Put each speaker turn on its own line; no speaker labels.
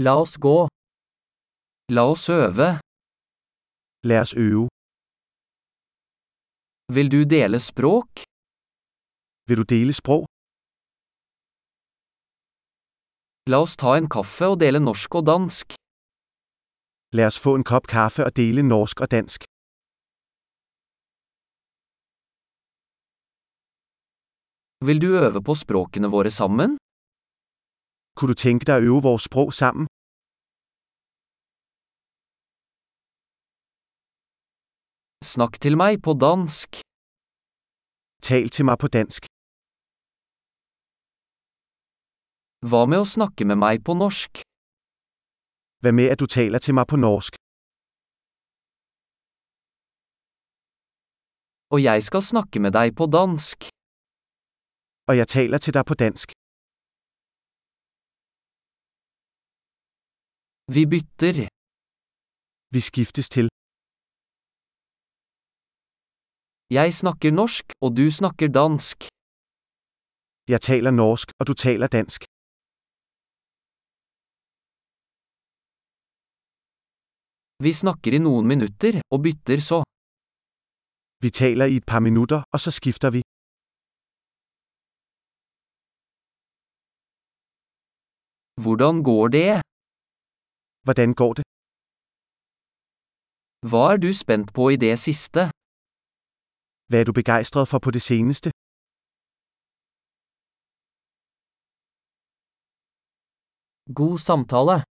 La oss gå. La oss øve.
Lad os øve.
Vil du dele språk?
Vil du dele sprog?
La oss ta en kaffe og dele norsk og dansk.
Lad os få en kop kaffe og dele norsk og dansk.
Vil du øve på språkene våre sammen?
Kunne du tænke dig at øve vores sprog sammen?
Snakk til meg på dansk.
Tal til mig på dansk.
Hva med å snakke med meg på norsk?
Hvad med at du taler til mig på norsk?
Og jeg skal snakke med deg på dansk.
Og jeg taler til dig på dansk.
Vi bytter.
Vi skiftes til.
Jeg snakker norsk, og du snakker dansk.
Jeg taler norsk, og du taler dansk.
Vi snakker i noen minutter, og bytter så.
Vi taler i et par minutter, og så skifter vi.
Hvordan går det?
Hvordan går det?
Hva er du spent på i det siste?
Hvad er du begejstret for på det seneste?
God samtale.